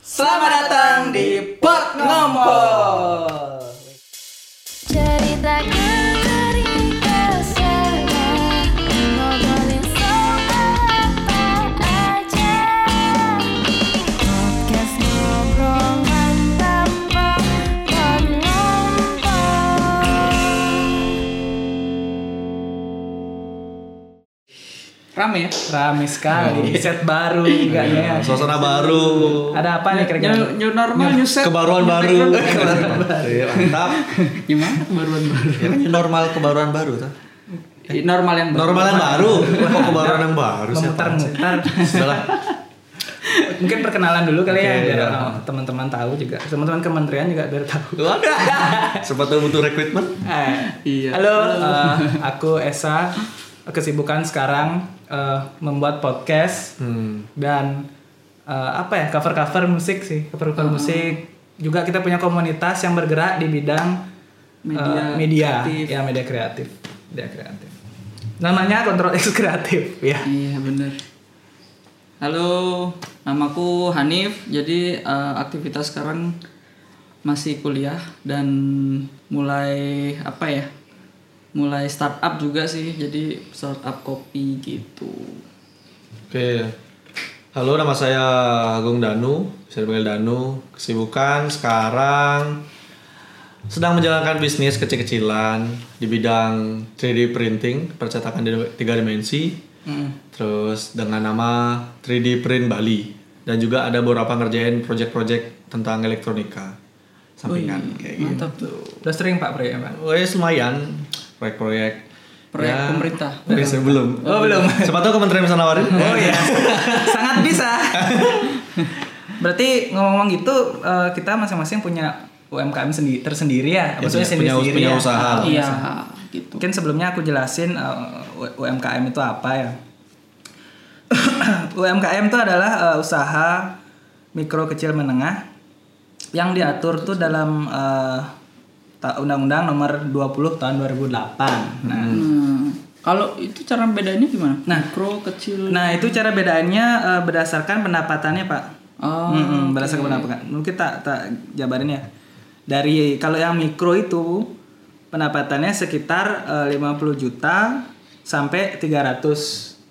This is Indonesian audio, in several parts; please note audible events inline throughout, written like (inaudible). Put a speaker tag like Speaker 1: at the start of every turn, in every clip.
Speaker 1: Selamat datang di Pot Ngompol.
Speaker 2: Cerita kiri kesana Ngobrolin soal apa aja Podcast ngobrolan tanpa penonton
Speaker 3: Rame ya?
Speaker 4: Rame sekali, set baru kayaknya.
Speaker 5: Iya, Nah, Suasana baru.
Speaker 4: Ada apa nih kira-kira?
Speaker 3: New, new normal, new set.
Speaker 5: Kebaruan
Speaker 3: New
Speaker 5: baru.
Speaker 3: background.
Speaker 5: Iya, Mantap.
Speaker 3: Gimana kebaruan
Speaker 5: (laughs)
Speaker 3: baru?
Speaker 5: Ya kan normal kebaruan baru tuh.
Speaker 3: Iya, Normal yang baru.
Speaker 5: Normal yang baru. Kok kebaruan yang baru sih? apaan sih?
Speaker 4: Memutar-mutar.
Speaker 5: Sudahlah.
Speaker 4: Mungkin perkenalan dulu kali ya
Speaker 5: Oke,
Speaker 4: biar
Speaker 5: iya.
Speaker 4: uh, teman-teman tahu juga. Teman-teman kementerian juga biar tahu.
Speaker 5: Lu ada. Sempat lu butuh recruitment.
Speaker 4: Eh,
Speaker 3: Iya.
Speaker 4: Halo, eh, aku Esa. Kesibukan sekarang eh, membuat podcast
Speaker 5: Hmm.
Speaker 4: dan eh, apa ya cover-cover musik sih, cover-cover musik. Juga kita punya komunitas yang bergerak di bidang eh,
Speaker 3: Media
Speaker 4: media.
Speaker 3: kreatif.
Speaker 4: ya media kreatif, media kreatif. Namanya Kontrol X Kreatif ya.
Speaker 3: Iya bener. Halo, namaku Hanif. Jadi eh, aktivitas sekarang masih kuliah dan mulai apa ya? Mulai startup juga sih. Jadi startup kopi gitu.
Speaker 5: Oke. Halo, nama saya Agung Danu, bisa dipanggil Danu. Kesibukan sekarang sedang menjalankan bisnis kecil-kecilan di bidang 3D printing, percetakan di tiga dimensi.
Speaker 3: Hmm.
Speaker 5: Terus dengan nama 3D Print Bali dan juga ada beberapa ngerjain project-project tentang elektronika sampingan kayak gitu.
Speaker 3: Mantap tuh.
Speaker 4: Udah sering Pak Pre ya Pak?
Speaker 5: Wes lumayan proyek-proyek
Speaker 3: Proyek
Speaker 5: Ya.
Speaker 3: pemerintah.
Speaker 5: Wes, belum.
Speaker 4: Oh, belum.
Speaker 5: Siapa tahu kementerian bisa nawarin.
Speaker 4: Oh
Speaker 5: (laughs)
Speaker 4: iya, sangat bisa. Berarti ngomong-ngomong gitu, eh, kita masing-masing punya UMKM sendi- tersendiri ya,
Speaker 5: Ya,
Speaker 4: maksudnya
Speaker 5: punya- punya-
Speaker 4: sendiri-sendiri
Speaker 5: punya
Speaker 4: ya.
Speaker 5: usaha.
Speaker 4: Ah,
Speaker 3: Iya, gitu.
Speaker 4: Mungkin sebelumnya aku jelasin eh, U- UMKM itu apa ya. (coughs) UMKM itu adalah eh, usaha mikro kecil menengah yang diatur tuh dalam eh, ta- Undang-Undang Nomor 20 Tahun 2008. Nah,
Speaker 3: Hmm. Kalau itu cara bedainnya gimana?
Speaker 4: Nah.
Speaker 3: Mikro, kecil.
Speaker 4: nah itu cara bedaannya eh, berdasarkan pendapatannya Pak.
Speaker 3: Oh,
Speaker 4: Mm-mm, berdasarkan pendapat. Mungkin tak tak jabarin ya. Dari kalau yang mikro itu pendapatannya sekitar eh, 50 juta sampai 300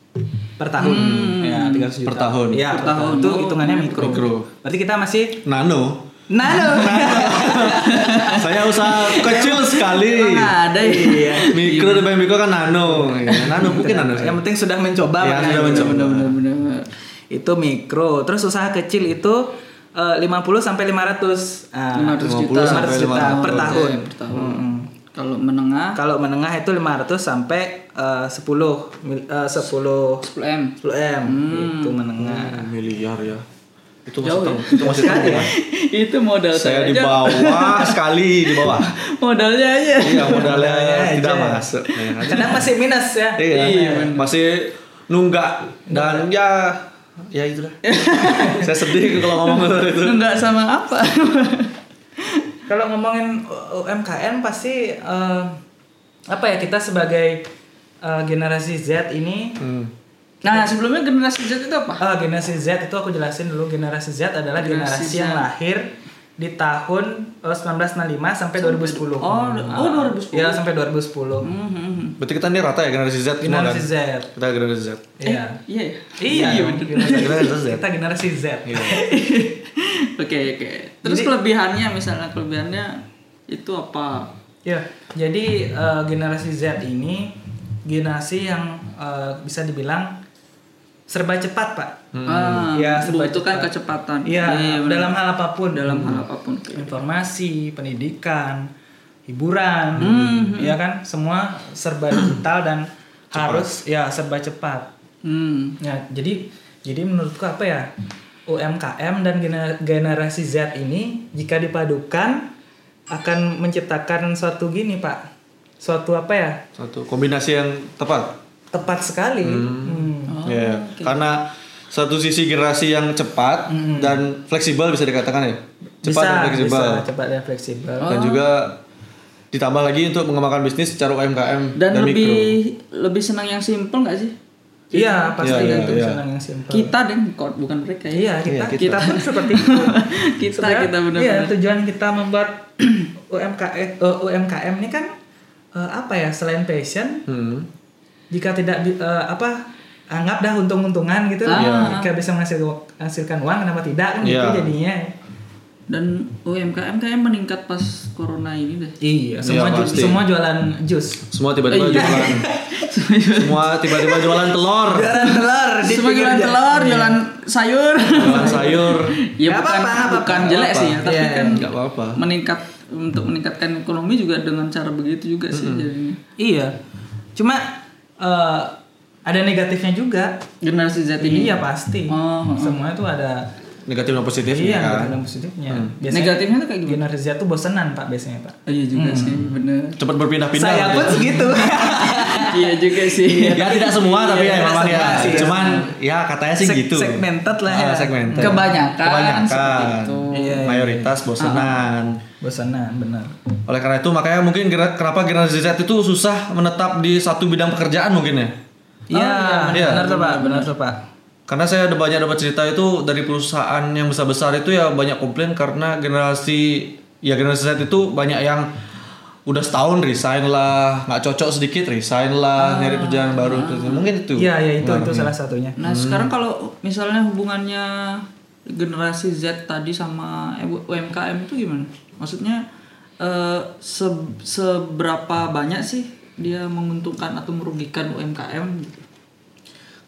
Speaker 4: per tahun. Ya, 300 juta.
Speaker 5: Per tahun.
Speaker 4: Ya, per, tahun. Itu hitungannya mikro.
Speaker 5: Mikro.
Speaker 4: Berarti kita masih (laughs)
Speaker 5: Nano.
Speaker 4: nano.
Speaker 5: Saya usaha kecil sekali.
Speaker 4: Nggak ada iya.
Speaker 5: Mikro dan mikro kan nano. Ya, Nano mungkin nano.
Speaker 4: Yang penting sudah mencoba.
Speaker 5: Ya,
Speaker 4: makanya.
Speaker 5: sudah mencoba.
Speaker 3: benar-benar.
Speaker 4: Itu mikro. Terus usaha kecil itu eh, 50 sampai 500. Ah,
Speaker 3: 500 juta.
Speaker 4: 500 juta per tahun. Nah,
Speaker 3: Iya, per tahun.
Speaker 5: Hmm.
Speaker 3: Kalau menengah
Speaker 4: Kalau menengah itu 500 sampai eh, 10 mil- eh, 10
Speaker 3: 10 m.
Speaker 4: 10 M
Speaker 5: Hmm.
Speaker 4: itu menengah.
Speaker 5: Miliar ya. Itu
Speaker 3: Jauh
Speaker 5: masih tahu.
Speaker 3: ya?
Speaker 5: Itu masih tahu. ya.
Speaker 3: (laughs) itu modal
Speaker 5: Saya
Speaker 3: saya,
Speaker 5: di
Speaker 3: aja.
Speaker 5: bawah sekali di bawah.
Speaker 3: Modalnya aja.
Speaker 4: (laughs)
Speaker 5: Iya modalnya
Speaker 4: Modalnya
Speaker 5: tidak
Speaker 4: aja.
Speaker 5: masuk. Ya, kan?
Speaker 4: Kadang masih minus ya.
Speaker 5: Iya, masih nunggak dan ya ya itulah. Saya sedih kalau ngomong gitu. seperti itu.
Speaker 3: Enggak sama apa. (laughs)
Speaker 4: Kalau ngomongin U- UMKM pasti eh, apa ya kita sebagai eh, generasi Z ini
Speaker 5: Hmm.
Speaker 3: nah, sebelumnya generasi Z itu apa?
Speaker 4: Ah, generasi Z itu aku jelasin dulu generasi Z adalah generasi,
Speaker 3: Generasi Z.
Speaker 4: yang lahir di tahun eh, 1965 sampai 2010.
Speaker 3: Oh, oh, 2010.
Speaker 4: Iya, sampai 2010.
Speaker 3: Mhm.
Speaker 5: Berarti kita ini rata ya generasi Z semua kan?
Speaker 4: Generasi Z.
Speaker 5: Kita generasi Z.
Speaker 4: Iya.
Speaker 3: Iya. ya?
Speaker 4: Iya, dong,
Speaker 5: Generasi Z.
Speaker 4: generasi- kita generasi Z.
Speaker 3: (laughs) Iya. Oke, oke. Terus
Speaker 4: Jadi-
Speaker 3: kelebihannya misalnya kelebihannya itu apa?
Speaker 4: Ya, jadi eh, generasi Z ini generasi yang eh, bisa dibilang serba cepat, Pak.
Speaker 3: Ah,
Speaker 4: Iya, serba
Speaker 3: membutuhkan
Speaker 4: cepat.
Speaker 3: kecepatan.
Speaker 4: Iya,
Speaker 3: benar.
Speaker 4: dalam hal apapun, Hmm.
Speaker 3: dalam hal apapun.
Speaker 4: informasi, pendidikan, hiburan,
Speaker 5: Hmm,
Speaker 4: ya kan, semua serba digital dan harus ya serba cepat.
Speaker 3: Hmm.
Speaker 4: Ya, jadi jadi menurutku apa ya? UMKM dan gener- generasi Z ini jika dipadukan akan menciptakan suatu gini, Pak. Suatu apa ya?
Speaker 5: Satu kombinasi yang tepat.
Speaker 4: Tepat sekali. Hmm.
Speaker 5: ya Karena satu sisi generasi yang cepat dan fleksibel bisa dikatakan ya. Cepat dan
Speaker 4: bisa,
Speaker 5: fleksibel. Oh.
Speaker 4: bisa cepat dan fleksibel.
Speaker 5: Dan juga ditambah lagi untuk mengembangkan bisnis secara UMKM
Speaker 3: Dan,
Speaker 5: mikro.
Speaker 3: lebih lebih senang yang simple nggak sih?
Speaker 4: Iya, pasti
Speaker 5: Iya,
Speaker 4: itu
Speaker 5: iya,
Speaker 4: senang yang simple.
Speaker 3: kita deh kok bukan mereka
Speaker 4: Iya,
Speaker 3: ya
Speaker 4: kita,
Speaker 5: Iya,
Speaker 4: kita
Speaker 5: kita.
Speaker 4: pun seperti itu.
Speaker 3: kita
Speaker 4: Sebenarnya,
Speaker 3: kita benar
Speaker 4: Iya, tujuan kita membuat (clears throat) UMKM eh, UMKM ini kan eh, apa ya selain passion,
Speaker 5: Hmm.
Speaker 4: jika tidak di- eh, apa anggap dah untung-untungan gitu,
Speaker 3: Ah.
Speaker 4: jika bisa menghasil- menghasilkan uang kenapa tidak kan gitu
Speaker 5: Iya.
Speaker 4: jadinya.
Speaker 3: dan UMKM kayaknya meningkat pas corona ini deh
Speaker 4: Iya, semua
Speaker 5: Iya,
Speaker 4: ju-
Speaker 5: pasti.
Speaker 4: semua jualan jus.
Speaker 5: Semua tiba-tiba
Speaker 3: Iya.
Speaker 5: jualan. Semua tiba-tiba jualan telur,
Speaker 4: Jualan telur, di
Speaker 3: Semua
Speaker 4: pinggir
Speaker 3: jualan
Speaker 4: jalan.
Speaker 3: telur, jualan sayur.
Speaker 5: jualan sayur.
Speaker 3: ya
Speaker 4: Iya. Nggak
Speaker 3: bukan,
Speaker 4: apa-apa, nggak apa-apa.
Speaker 3: bukan jelek sih ya, tapi
Speaker 4: Iya,
Speaker 3: kan
Speaker 5: Gak apa-apa.
Speaker 3: meningkat untuk meningkatkan ekonomi juga dengan cara begitu juga sih jadinya.
Speaker 4: Iya. Cuma eh, ada negatifnya juga.
Speaker 3: Generasi Z ini
Speaker 4: Iya pasti.
Speaker 3: Oh, oh.
Speaker 4: Semua itu ada
Speaker 5: Negatif dan positifnya
Speaker 4: iya
Speaker 5: kan.
Speaker 4: ada positifnya. Biasanya
Speaker 3: negatifnya tuh kayak gimana?
Speaker 4: generasi Z tuh bosenan Pak biasanya Pak.
Speaker 3: Iya juga sih, bener.
Speaker 5: Cepat berpindah-pindah.
Speaker 4: Saya
Speaker 5: gitu.
Speaker 4: pun segitu.
Speaker 3: (laughs) iya juga sih.
Speaker 5: ya tidak semua tapi
Speaker 4: Iya,
Speaker 5: ya
Speaker 4: tidak
Speaker 5: memang ya.
Speaker 4: semua sih, ya.
Speaker 5: Cuman ya katanya sih
Speaker 4: Seg-
Speaker 5: gitu.
Speaker 4: segmented lah
Speaker 5: Ah,
Speaker 4: ya.
Speaker 5: segmented.
Speaker 3: Kebanyakan seperti itu.
Speaker 5: Kebanyakan.
Speaker 4: Iya, Ah, iya.
Speaker 5: Mayoritas bosenan.
Speaker 4: bosenan benar.
Speaker 5: Oleh karena itu makanya mungkin gera- kenapa generasi Z itu susah menetap di satu bidang pekerjaan mungkin ya.
Speaker 4: Iya,
Speaker 5: iya.
Speaker 4: benar tuh Pak, benar tuh Pak.
Speaker 5: Karena saya ada banyak dapat cerita itu dari perusahaan yang besar-besar itu ya banyak komplain karena generasi ya generasi Z itu banyak yang udah setahun resign lah, nggak cocok sedikit resign lah, nyari kerjaan baru mungkin itu.
Speaker 4: Ah. Iya, iya itu itu salah satunya.
Speaker 3: Nah sekarang kalau misalnya hubungannya generasi Z tadi sama E UMKM itu gimana? Maksudnya eh, se- seberapa banyak sih dia menguntungkan atau merugikan UMKM? gitu?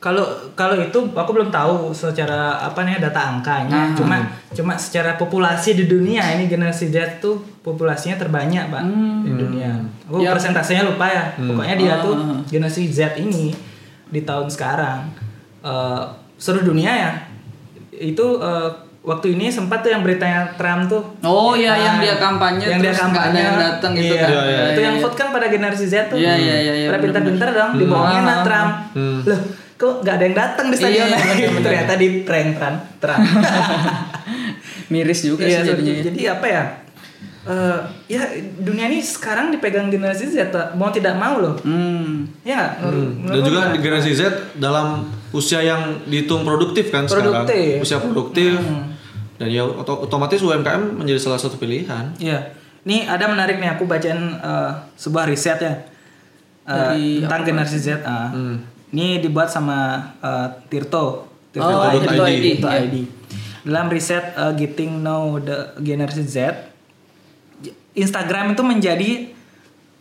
Speaker 4: Kalau kalau itu aku belum tahu secara apa nih data angkanya.
Speaker 3: Hmm.
Speaker 4: Cuma cuma secara populasi di dunia ini generasi Z tuh populasinya terbanyak, Pak, di
Speaker 3: Hmm.
Speaker 4: dunia. Aku persentasenya lupa ya. Pokoknya dia tuh
Speaker 3: Hmm.
Speaker 4: generasi Z ini di tahun sekarang eh, seluruh dunia ya. Itu eh, waktu ini sempat tuh yang beritanya Trump tuh.
Speaker 3: Oh iya
Speaker 4: Nah,
Speaker 3: yang dia kampanye
Speaker 4: yang
Speaker 3: terus
Speaker 4: dia
Speaker 3: nggak ada
Speaker 4: kampanye
Speaker 3: yang datang gitu
Speaker 4: Iya.
Speaker 3: kan?
Speaker 5: Iya,
Speaker 4: itu yang vote kan pada generasi Z tuh.
Speaker 3: Iya, iya, iya, Ah, iya,
Speaker 4: Pada
Speaker 3: benar-benar.
Speaker 4: pintar-pintar dong, dibohongin lah Trump. Loh, kok nggak ada yang datang di stadion?
Speaker 3: Hmm. Iya, iya,
Speaker 4: (laughs) Ternyata di prank Trump. Trump.
Speaker 3: Miris (laughs) juga
Speaker 4: Iya,
Speaker 3: sih
Speaker 4: jadi,
Speaker 3: jadinya.
Speaker 4: jadi apa ya? Eh, ya dunia ini sekarang dipegang generasi Z, Pak. mau tidak mau loh.
Speaker 3: Hmm.
Speaker 4: Ya, menurut-
Speaker 5: Dan
Speaker 4: menurut
Speaker 5: juga
Speaker 4: gua.
Speaker 5: di generasi Z dalam usia yang dihitung produktif kan
Speaker 4: Produktif. Hmm.
Speaker 5: sekarang. Usia produktif. Dan ya oto- otomatis UMKM menjadi salah satu pilihan.
Speaker 4: Iya. Nih ada menarik nih aku bacain eh, sebuah riset ya. Eh, tentang generasi Z. ah.
Speaker 3: Hmm.
Speaker 4: Ini dibuat sama eh, Tirto. Tirto
Speaker 3: Oh,
Speaker 5: Tirto
Speaker 3: Tirto
Speaker 5: ID.
Speaker 3: ID.
Speaker 4: Tirto
Speaker 3: Iya.
Speaker 4: ID. Dalam riset eh, Getting Know the Generation Z, Instagram itu menjadi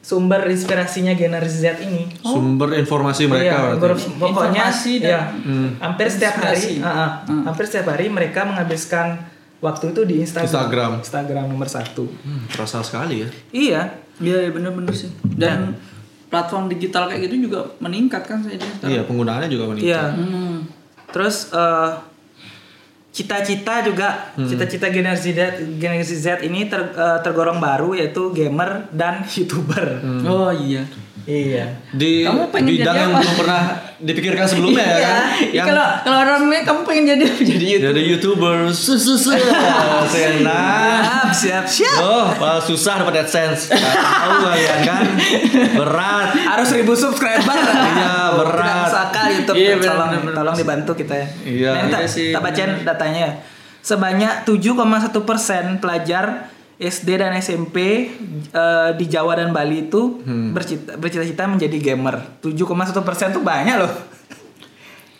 Speaker 4: sumber inspirasinya generasi Z ini.
Speaker 5: Sumber informasi
Speaker 4: Oh.
Speaker 5: mereka
Speaker 4: Iya,
Speaker 5: berarti.
Speaker 4: grup- pokoknya
Speaker 3: Informasi dan hmm.
Speaker 4: iya. hampir setiap hari,
Speaker 3: inspirasi. Hmm.
Speaker 4: ah, ah, hampir setiap hari mereka menghabiskan waktu itu di Instagram.
Speaker 5: Instagram.
Speaker 4: Instagram nomor satu.
Speaker 5: Hmm, terasa sekali ya.
Speaker 4: Iya,
Speaker 3: Iya iya, bener-bener sih. Dan platform digital kayak gitu juga meningkat kan saya lihat.
Speaker 5: Iya, penggunaannya juga meningkat.
Speaker 4: Iya.
Speaker 3: Hmm.
Speaker 4: Terus eh, cita-cita juga cita-cita generasi Z generasi Z ini ter- eh, tergorong baru yaitu gamer dan (laughs) youtuber.
Speaker 3: Oh iya.
Speaker 4: Iya.
Speaker 5: Di
Speaker 3: Kamu pengen jadi
Speaker 5: bidang yang
Speaker 3: apa?
Speaker 5: belum pernah dipikirkan sebelumnya ya kan.
Speaker 3: Ya,
Speaker 5: Yang Iya.
Speaker 3: kalau kalau orang lain kamu pengen jadi jadi YouTube.
Speaker 5: jadi YouTuber susu Sena.
Speaker 4: Siap, siap, siap.
Speaker 5: Oh, malah susah dapat AdSense. Nggak Tahu kalian kan. Berat.
Speaker 4: Harus ribu subscriber.
Speaker 5: Iya,
Speaker 4: Kita
Speaker 5: berat.
Speaker 4: usahakan YouTube
Speaker 3: Iya, benar,
Speaker 4: tolong
Speaker 3: benar, benar.
Speaker 4: tolong dibantu kita ya.
Speaker 5: Iya.
Speaker 4: Nah, kita,
Speaker 3: Iya sih,
Speaker 4: kita bacain datanya ya. Sebanyak 7,1 pelajar SD dan SMP eh, di Jawa dan Bali itu
Speaker 3: Hmm.
Speaker 4: bercita- bercita-cita menjadi gamer. 7,1 persen tuh banyak loh.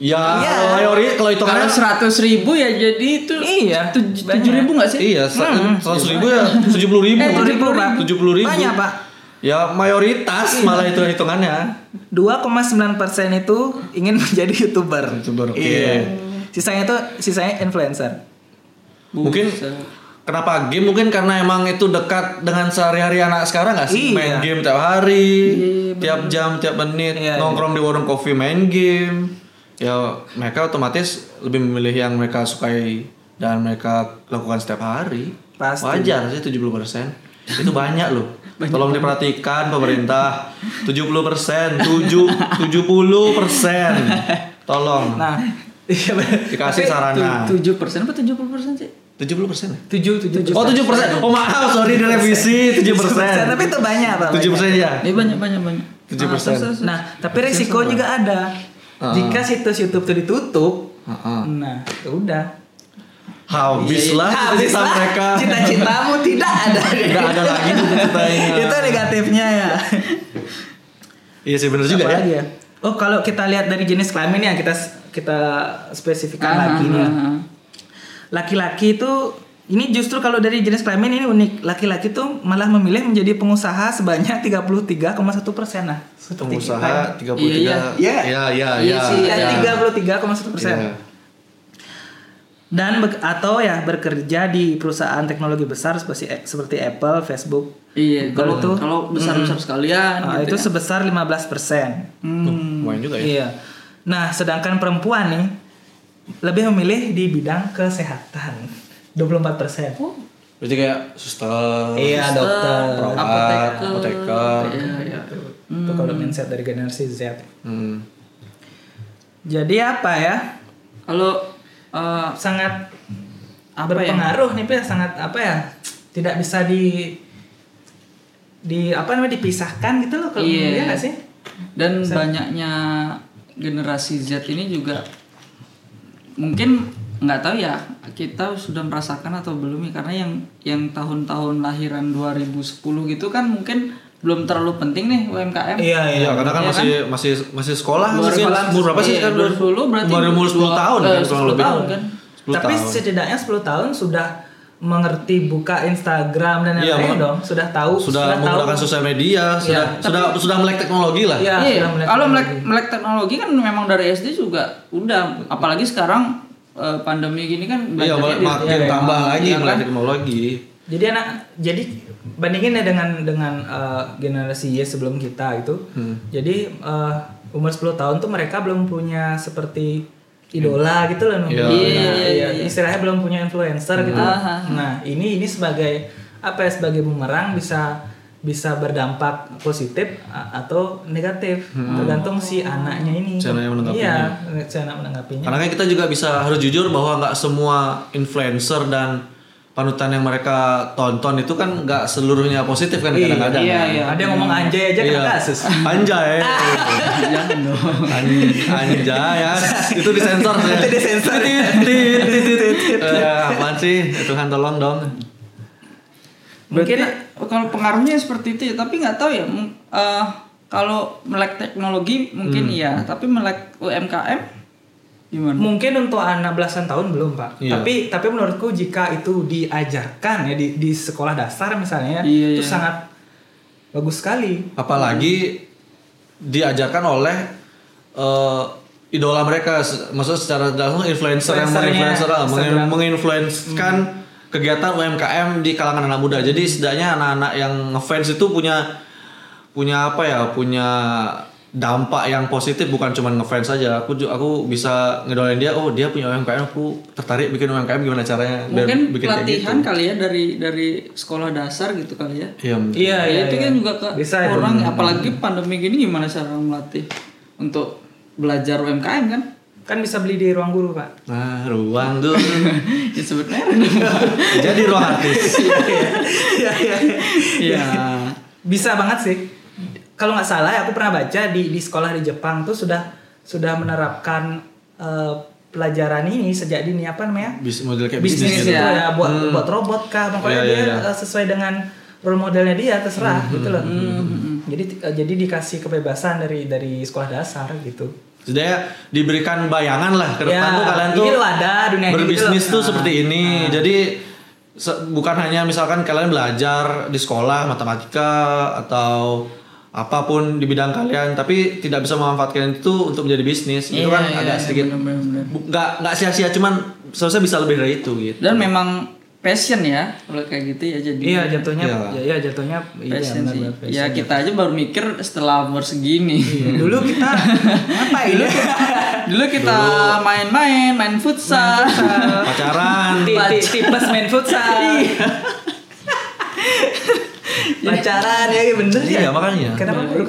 Speaker 5: Ya,
Speaker 4: Iya.
Speaker 5: kalau teori kalau itu
Speaker 3: Kalau seratus ribu ya jadi itu
Speaker 4: Iya, banyak.
Speaker 3: tujuh ribu nggak sih?
Speaker 5: Iya, seratus ribu ya, tujuh puluh ribu,
Speaker 4: Eh, 70.000, Pak.
Speaker 5: tujuh puluh ribu.
Speaker 4: Banyak, Pak.
Speaker 5: Ya mayoritas malah itu hitungannya.
Speaker 4: 2,9 persen itu ingin (laughs) menjadi youtuber. Iya.
Speaker 5: YouTuber, oke.
Speaker 4: Sisanya tuh sisanya influencer.
Speaker 5: Mungkin kenapa game? Mungkin karena emang itu dekat dengan sehari-hari anak sekarang nggak sih?
Speaker 4: Iya.
Speaker 5: Main game tiap hari, tiap jam, tiap menit,
Speaker 4: Iya,
Speaker 5: nongkrong di warung kopi main game. Ya mereka otomatis lebih memilih yang mereka sukai dan mereka lakukan setiap hari.
Speaker 4: Pasti.
Speaker 5: Wajar sih 70 Itu banyak
Speaker 4: (laughs)
Speaker 5: loh. Tolong diperhatikan pemerintah 70 persen, 70
Speaker 4: (laughs)
Speaker 5: persen. Tolong
Speaker 4: Nah,
Speaker 3: (laughs)
Speaker 4: iya bener.
Speaker 5: dikasih sarana.
Speaker 3: Tujuh persen apa tujuh puluh persen sih?
Speaker 5: 70 persen ya?
Speaker 4: 7 7
Speaker 5: Oh tujuh persen. Oh maaf, sorry direvisi (laughs) tujuh persen.
Speaker 4: Tapi itu banyak, Pak.
Speaker 5: Tujuh persen ya.
Speaker 3: Ini banyak banyak banyak.
Speaker 5: Tujuh persen.
Speaker 4: Nah, tapi resiko juga ada.
Speaker 5: Ah.
Speaker 4: Jika situs YouTube itu ditutup,
Speaker 5: Heeh.
Speaker 4: nah ya udah.
Speaker 5: Habislah cita-cita
Speaker 4: Iya, Habislah,
Speaker 5: mereka.
Speaker 4: Cita-citamu tidak ada.
Speaker 5: Nggak ada lagi cita-citanya.
Speaker 4: (laughs) itu negatifnya ya.
Speaker 5: Iya sih bener juga
Speaker 4: Apa
Speaker 5: ya.
Speaker 4: lagi Oh kalau kita lihat dari jenis kelamin ya kita kita spesifikkan lagi nih. ya. Laki-laki itu ini justru kalau dari jenis kelamin ini unik. Laki-laki tuh malah memilih menjadi pengusaha sebanyak 33,1 persen nah. Seperti
Speaker 5: Pengusaha
Speaker 4: kita.
Speaker 5: 33.
Speaker 3: Iya,
Speaker 4: iya.
Speaker 5: Iya, iya,
Speaker 3: Iya
Speaker 5: iya.
Speaker 3: sih,
Speaker 5: iya.
Speaker 4: Dan 33,1 persen.
Speaker 5: Iya.
Speaker 4: Dan be- atau ya bekerja di perusahaan teknologi besar seperti e, seperti Apple, Facebook.
Speaker 3: Iya, kalau
Speaker 4: Kalau tuh-
Speaker 3: kalau besar-besar sekalian
Speaker 4: Ah, itu
Speaker 3: gitu ya.
Speaker 4: sebesar 15 persen. Hmm,
Speaker 5: Lumayan juga ya.
Speaker 4: Iya. Nah, sedangkan perempuan nih lebih memilih di bidang kesehatan. 24 persen.
Speaker 3: Oh,
Speaker 5: Berarti kayak suster.
Speaker 4: iya, dokter.
Speaker 5: perawat,
Speaker 3: Ah, Apoteker.
Speaker 5: apoteker.
Speaker 3: Iya, iya.
Speaker 4: Itu kalau mindset dari generasi Z.
Speaker 5: Hmm.
Speaker 4: Jadi apa ya?
Speaker 3: Kalau eh,
Speaker 4: Sangat
Speaker 3: Apa
Speaker 4: berpengaruh nih, Pil. sangat apa ya? Tidak bisa di di apa namanya dipisahkan gitu loh kalau
Speaker 3: Iya.
Speaker 4: iya nggak sih?
Speaker 3: dan banyaknya generasi Z ini juga mungkin nggak tahu ya kita sudah merasakan atau belum ya karena yang yang tahun-tahun lahiran 2010 gitu kan mungkin belum terlalu penting nih UMKM.
Speaker 4: Iya,
Speaker 5: Iya, karena kan
Speaker 3: Iya
Speaker 5: masih masih masih sekolah
Speaker 3: Baru
Speaker 5: mungkin.
Speaker 3: sekolah,
Speaker 5: Umur berapa sih
Speaker 3: iya,
Speaker 5: kan?
Speaker 3: baru sepuluh berarti
Speaker 5: Baru umur 10
Speaker 3: dua-
Speaker 5: tahun
Speaker 3: eh,
Speaker 5: kan kurang
Speaker 3: 10
Speaker 5: lebih.
Speaker 3: tahun kan.
Speaker 5: 10
Speaker 4: Tapi
Speaker 5: tahun.
Speaker 4: setidaknya 10 tahun sudah mengerti buka Instagram dan
Speaker 5: Iya,
Speaker 4: lain-lain
Speaker 5: meng-
Speaker 4: dong, sudah tahu
Speaker 5: sudah
Speaker 4: tahu.
Speaker 5: menggunakan sosial media, sudah sudah sudah melek teknologi lah.
Speaker 4: Iya,
Speaker 3: Iya,
Speaker 4: sudah melek
Speaker 3: kalau melek,
Speaker 4: teknologi.
Speaker 3: melek teknologi kan memang dari SD juga udah, apalagi sekarang eh, pandemi gini kan
Speaker 5: Iya,
Speaker 3: belajarnya di-
Speaker 5: makin
Speaker 4: iya,
Speaker 5: tambah lagi
Speaker 3: iya,
Speaker 5: melek
Speaker 3: kan?
Speaker 5: teknologi.
Speaker 4: Jadi anak jadi bandingin ya dengan dengan eh, generasi Y sebelum kita gitu.
Speaker 5: Hmm.
Speaker 4: Jadi eh, umur 10 tahun tuh mereka belum punya seperti idola gitu loh.
Speaker 5: Iya, Hmm.
Speaker 4: Nah,
Speaker 3: iya, iya, iya.
Speaker 4: Istilahnya belum punya influencer gitu.
Speaker 3: Aha.
Speaker 4: Nah, ini ini sebagai apa ya sebagai bumerang bisa bisa berdampak positif a- atau negatif tergantung si anaknya ini.
Speaker 5: Hmm. Si anaknya menanggapinya.
Speaker 4: Iya, si anak menanggapinya.
Speaker 5: Karena kan kita juga bisa harus jujur bahwa nggak semua influencer dan panutan yang mereka tonton itu kan nggak seluruhnya positif kan kadang-kadang.
Speaker 3: Iya, iya. iya.
Speaker 4: Ada yang ngomong anjay aja
Speaker 5: Iya.
Speaker 4: kena kasus.
Speaker 5: Anjay.
Speaker 3: (laughs) Ah.
Speaker 5: (laughs)
Speaker 3: Jangan dong.
Speaker 5: An- Anjay ya. Itu disensor ya.
Speaker 4: Itu disensor.
Speaker 5: Eh, apaan sih? Tuhan tolong dong.
Speaker 3: mungkin kalau pengaruhnya seperti itu ya tapi nggak tahu ya mung- eh, kalau melek teknologi mungkin
Speaker 5: Hmm.
Speaker 3: iya tapi melek UMKM gimana
Speaker 4: Mungkin untuk anak belasan tahun belum pak.
Speaker 5: Iya.
Speaker 4: Tapi tapi menurutku jika itu diajarkan ya di, di sekolah dasar misalnya ya,
Speaker 3: Iya,
Speaker 4: itu
Speaker 3: iya.
Speaker 4: sangat bagus sekali.
Speaker 5: Apalagi diajarkan oleh eh, idola mereka, Se- maksudnya secara langsung influencer yang
Speaker 4: Influencernya,
Speaker 5: menginfluencer, ah, meng-
Speaker 4: Instagram. Hmm.
Speaker 5: menginfluenskan kegiatan UMKM di kalangan anak muda. Jadi setidaknya anak-anak yang ngefans itu punya punya apa ya? Punya dampak yang positif bukan cuma ngefans saja. Aku ju- aku bisa ngedolain dia, oh dia punya UMKM, aku tertarik bikin UMKM gimana caranya Dan
Speaker 3: mungkin
Speaker 5: bikin kayak
Speaker 3: pelatihan
Speaker 5: gitu.
Speaker 3: kali ya dari dari sekolah dasar gitu kali ya
Speaker 5: Iya, mungkin.
Speaker 4: Iya
Speaker 3: Ya, itu kan juga ke
Speaker 4: bisa ya.
Speaker 3: orang apalagi pandemi gini gimana cara melatih untuk belajar UMKM kan (laughs)
Speaker 4: kan bisa beli di ruang guru pak. (laughs)
Speaker 5: Nah, ruang tuh
Speaker 3: ya sebenarnya
Speaker 5: jadi ruang artis
Speaker 4: Iya, iya.
Speaker 3: ya
Speaker 4: bisa banget sih. Kalau nggak salah ya, aku pernah baca di di sekolah di Jepang tuh sudah sudah menerapkan eh, pelajaran ini sejak dini apa namanya?
Speaker 5: Bis, model kayak bisnis,
Speaker 4: bisnis
Speaker 3: bisnis
Speaker 4: itu
Speaker 5: gitu.
Speaker 3: ya.
Speaker 4: ya buat buat robot kah pokoknya
Speaker 5: Iya, iya,
Speaker 4: dia
Speaker 5: iya.
Speaker 4: eh, sesuai dengan role modelnya dia terserah gitu loh jadi eh, jadi dikasih kebebasan dari dari sekolah dasar gitu
Speaker 5: Setidaknya diberikan bayangan lah ke depan
Speaker 4: Ya,
Speaker 5: tuh kalian tuh
Speaker 4: ini loh ada dunia ini
Speaker 5: berbisnis
Speaker 4: gitu loh.
Speaker 5: tuh seperti ini. Jadi se- bukan hanya misalkan kalian belajar di sekolah matematika atau apapun di bidang kalian tapi tidak bisa memanfaatkan itu untuk menjadi bisnis. Itu
Speaker 3: Iya,
Speaker 5: kan
Speaker 3: iya,
Speaker 5: agak
Speaker 3: iya,
Speaker 5: sedikit
Speaker 3: benar-benar.
Speaker 5: bu- nggak nggak sia-sia cuman seharusnya bisa lebih dari itu gitu.
Speaker 3: dan memang passion ya kalau kayak gitu ya jadi
Speaker 4: iya jatuhnya
Speaker 5: Iya.
Speaker 4: ya, iya, jatuhnya iya,
Speaker 3: passion
Speaker 4: benar,
Speaker 3: sih
Speaker 4: benar,
Speaker 3: ya
Speaker 4: passion.
Speaker 3: kita aja baru mikir setelah umur segini
Speaker 4: Iya, dulu kita ngapain dulu
Speaker 3: (laughs) Dulu kita main-main, main futsal. (laughs)
Speaker 5: Pacaran.
Speaker 4: tipes main futsal
Speaker 3: Iya.
Speaker 4: pacaran ya bener ya
Speaker 5: Iya, makanya.
Speaker 4: kenapa
Speaker 3: Baru
Speaker 4: baru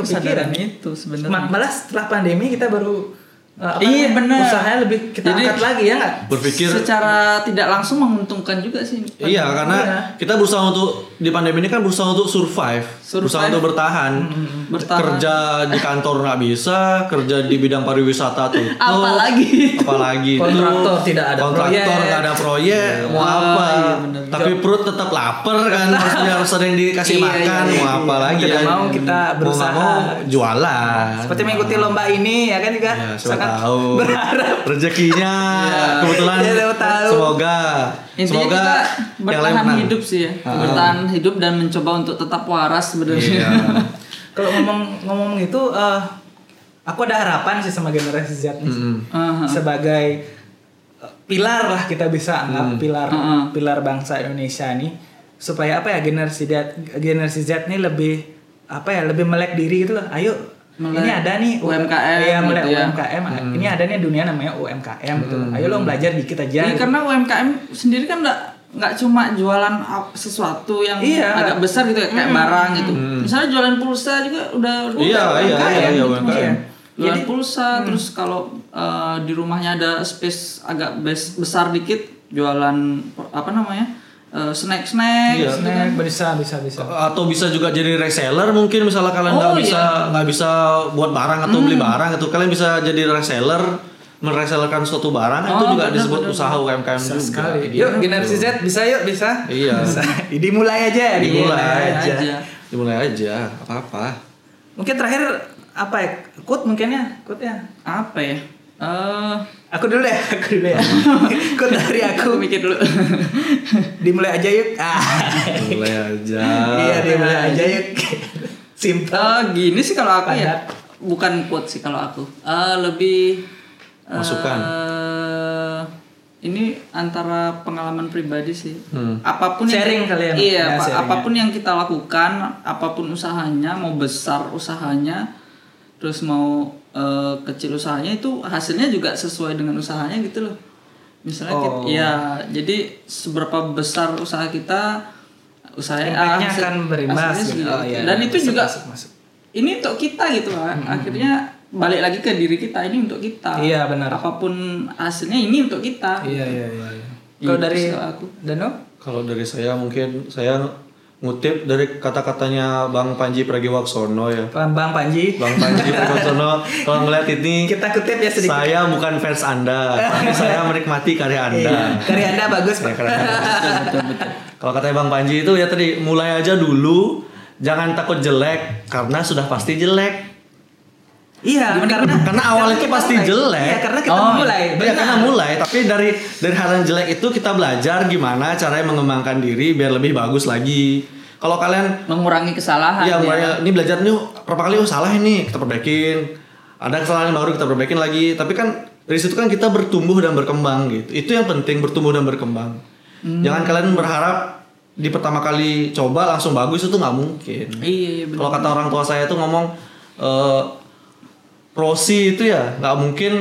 Speaker 4: kepikiran
Speaker 3: kesadaran itu sebenarnya.
Speaker 4: Ma- malah setelah pandemi kita baru Eh, apa
Speaker 3: Iya,
Speaker 4: namanya?
Speaker 3: bener.
Speaker 4: Usahanya lebih kita
Speaker 3: Jadi-
Speaker 4: angkat lagi ya nggak?
Speaker 5: Berpikir
Speaker 3: secara tidak langsung menguntungkan juga sih.
Speaker 5: Iya, karena
Speaker 4: Iya.
Speaker 5: kita berusaha untuk di pandemi ini kan berusaha untuk survive,
Speaker 3: Survive.
Speaker 5: berusaha untuk bertahan.
Speaker 4: Mm,
Speaker 3: Bertahan.
Speaker 5: Kerja di kantor nggak bisa, kerja di bidang pariwisata tutup.
Speaker 3: Apalagi.
Speaker 5: apalagi itu.
Speaker 4: Kontraktor tidak ada
Speaker 5: kontraktor
Speaker 4: proyek.
Speaker 5: nggak ada proyek, mau
Speaker 3: Wah,
Speaker 5: apa?
Speaker 3: iya bener.
Speaker 5: Tapi perut tetap lapar kan, harus
Speaker 4: (laughs)
Speaker 5: harus sering dikasih
Speaker 4: Iya,
Speaker 5: makan,
Speaker 4: iya,
Speaker 5: mau
Speaker 4: iya.
Speaker 5: apa lagi?
Speaker 4: Tidak
Speaker 5: kan?
Speaker 4: mau kita
Speaker 5: Mau nggak
Speaker 4: berusaha.
Speaker 5: mau jualan.
Speaker 4: Seperti mengikuti lomba ini ya kan juga
Speaker 5: Ya, (laughs) siapa
Speaker 4: sangat
Speaker 5: tahu
Speaker 4: (laughs) berharap.
Speaker 5: (laughs) rezekinya kebetulan
Speaker 4: Ya, siapa tahu.
Speaker 5: semoga
Speaker 3: Intinya
Speaker 5: semoga
Speaker 3: kita
Speaker 5: yang lain
Speaker 3: bertahan
Speaker 5: menang.
Speaker 3: hidup sih ya.
Speaker 5: Ah.
Speaker 3: Bertahan hidup dan mencoba untuk tetap waras
Speaker 5: Iya.
Speaker 3: sebenarnya.
Speaker 4: Kalau ngomong ngomong itu eh, aku ada harapan sih sama generasi Z nih. Uh-huh.
Speaker 5: Mm-mm.
Speaker 3: Aha.
Speaker 4: sebagai eh, pilar lah kita bisa anggap pilar
Speaker 3: Heeh.
Speaker 4: pilar bangsa Indonesia nih supaya apa ya generasi Z generasi Z nih lebih apa ya lebih melek diri gitu loh ayo
Speaker 3: Melek
Speaker 4: ini ada nih U-
Speaker 3: UMKM
Speaker 4: iya, melek
Speaker 3: gitu ya.
Speaker 4: UMKM ini ada nih dunia namanya UMKM gitu loh. ayo lo belajar dikit aja
Speaker 3: (laughs) Iya,
Speaker 4: gitu.
Speaker 3: karena UMKM sendiri kan nggak nggak cuma jualan au- sesuatu yang
Speaker 4: Iya.
Speaker 3: agak besar gitu ya, kayak barang gitu. Misalnya jualan pulsa juga udah udah
Speaker 5: Hmm. Iya, iya,
Speaker 3: UMKM
Speaker 5: iya, iya,
Speaker 3: gitu
Speaker 5: UMKM.
Speaker 3: maksudnya. Jualan
Speaker 4: Jadi-
Speaker 3: pulsa
Speaker 5: Hmm.
Speaker 3: terus kalau eh, di rumahnya ada space agak bes- besar dikit jualan apa namanya? snack snack
Speaker 5: Iya.
Speaker 3: gitu kan.
Speaker 4: Nah, bisa bisa bisa
Speaker 5: (laughs) atau bisa juga jadi reseller mungkin misalnya
Speaker 3: Oh,
Speaker 5: kalian
Speaker 3: iya. Hmm.
Speaker 5: nggak bisa nggak bisa buat barang atau beli barang itu kalian bisa jadi reseller meresellerkan suatu barang itu
Speaker 3: Oh,
Speaker 5: juga
Speaker 3: benar,
Speaker 5: disebut
Speaker 3: benar,
Speaker 5: usaha UMKM
Speaker 4: Bisa
Speaker 5: juga
Speaker 4: sekali
Speaker 5: Gitu.
Speaker 4: yuk generasi Z bisa yuk bisa
Speaker 5: Iya.
Speaker 4: (laughs) Bisa. dimulai aja
Speaker 5: Dimulai
Speaker 3: aja.
Speaker 5: dimulai aja apa apa
Speaker 3: (laughs)
Speaker 4: mungkin terakhir apa ya quote mungkin ya quote ya
Speaker 3: Apa ya? Eh, (laughs)
Speaker 4: Aku dulu deh, aku dulu ya. Ikut dari aku.
Speaker 3: aku mikir dulu. (laughs)
Speaker 4: Dimulai aja yuk. Ah.
Speaker 5: mulai aja
Speaker 4: iya, dimulai aja yuk. Simple.
Speaker 3: Eh, gini sih kalau aku ya
Speaker 4: Padat.
Speaker 3: bukan quote sih kalau aku Eh, lebih eh,
Speaker 5: Masukan.
Speaker 3: ini antara pengalaman pribadi sih
Speaker 5: Hmm.
Speaker 3: apapun yang-
Speaker 4: Sharing kali ya,
Speaker 3: iya
Speaker 4: ya,
Speaker 3: apa-
Speaker 4: sharingnya.
Speaker 3: apapun yang kita lakukan apapun usahanya mau besar usahanya terus mau eh, kecil usahanya itu hasilnya juga sesuai dengan usahanya gitu loh misalnya kita,
Speaker 4: Oh.
Speaker 3: ya jadi seberapa besar usaha kita usaha
Speaker 4: Impactnya akan berimbas.
Speaker 3: hasilnya
Speaker 4: gitu.
Speaker 3: segitu.
Speaker 4: Oh, iya.
Speaker 3: dan itu
Speaker 4: Masuk,
Speaker 3: juga
Speaker 4: masuk, masuk.
Speaker 3: ini untuk kita gitu lah. Akhirnya balik lagi ke diri kita ini untuk kita.
Speaker 4: Iya, benar.
Speaker 3: Apapun hasilnya ini untuk kita.
Speaker 4: Iya, iya, iya. iya.
Speaker 3: Iya,
Speaker 4: Kalau dari
Speaker 3: terserah aku.
Speaker 4: Dano?
Speaker 5: Kalau dari saya mungkin saya ngutip dari kata-katanya Bang Panji Pragiwaksono ya.
Speaker 4: Bang Panji.
Speaker 5: Bang Panji Pragiwaksono kalau ngeliat ini
Speaker 4: Kita kutip ya sedikit.
Speaker 5: saya bukan fans Anda, tapi saya menikmati karya Anda.
Speaker 4: Iya. Karya Anda bagus,
Speaker 5: Ya,
Speaker 4: Pak.
Speaker 5: karya Anda. Kalau katanya Bang Panji itu ya tadi mulai aja dulu, jangan takut jelek karena sudah pasti jelek.
Speaker 4: Iya, karena
Speaker 5: Karena awalnya itu
Speaker 4: kita
Speaker 5: pasti
Speaker 4: mulai.
Speaker 5: jelek.
Speaker 4: Iya, karena kita mulai.
Speaker 5: Iya,
Speaker 4: Benar.
Speaker 5: karena mulai, tapi dari dari hal yang jelek itu kita belajar gimana caranya mengembangkan diri biar lebih bagus lagi. Kalau kalian
Speaker 4: Ah,
Speaker 3: Mengurangi kesalahan.
Speaker 5: Iya,
Speaker 3: ya.
Speaker 5: mulai ini belajar nih berapa kali oh salah ini kita perbaikin. Ada kesalahan yang baru kita perbaikin lagi. Tapi kan dari situ kan kita bertumbuh dan berkembang gitu. Itu yang penting bertumbuh dan berkembang.
Speaker 4: Hmm.
Speaker 5: Jangan kalian berharap di pertama kali coba langsung bagus itu nggak mungkin.
Speaker 3: Iya, iya benar.
Speaker 5: Kalau kata orang tua saya tuh ngomong eh Rossi itu ya nggak mungkin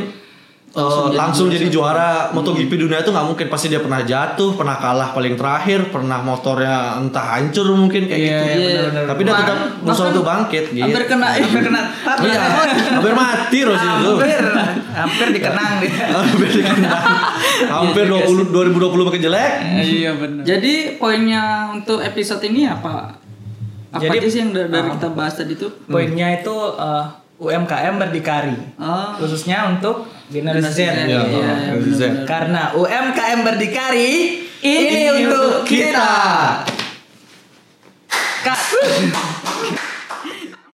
Speaker 5: eh, langsung, jadi, juara
Speaker 3: Hmm.
Speaker 5: MotoGP dunia itu nggak mungkin pasti dia pernah jatuh, pernah kalah paling terakhir, pernah motornya entah hancur mungkin kayak gitu.
Speaker 4: Iya, benar-benar.
Speaker 5: Tapi dia tetap
Speaker 3: Bahkan-
Speaker 5: berusaha
Speaker 3: bahkan
Speaker 5: untuk bangkit gitu.
Speaker 3: Hampir kena hampir
Speaker 4: (laughs)
Speaker 3: kena
Speaker 5: Iya, hampir mati Rossi itu.
Speaker 4: Hampir, hampir dikenang
Speaker 5: (laughs)
Speaker 4: dia.
Speaker 5: Hampir kena. Hampir 20 2020 makin jelek.
Speaker 3: Iya benar. Jadi poinnya untuk episode ini apa? Apa
Speaker 4: Jadi- ah,
Speaker 3: aja sih yang dari, dari kita bahas tadi tuh?
Speaker 4: Poinnya itu eh, UMKM berdikari.
Speaker 3: Oh,
Speaker 4: Khususnya untuk generasi Z.
Speaker 3: Generasi Z. Iya, iya,
Speaker 5: Rossi
Speaker 3: benar,
Speaker 5: Zek.
Speaker 3: benar.
Speaker 4: Karena UMKM berdikari ini,
Speaker 3: Ini
Speaker 4: untuk
Speaker 3: untuk
Speaker 4: kita. Cut.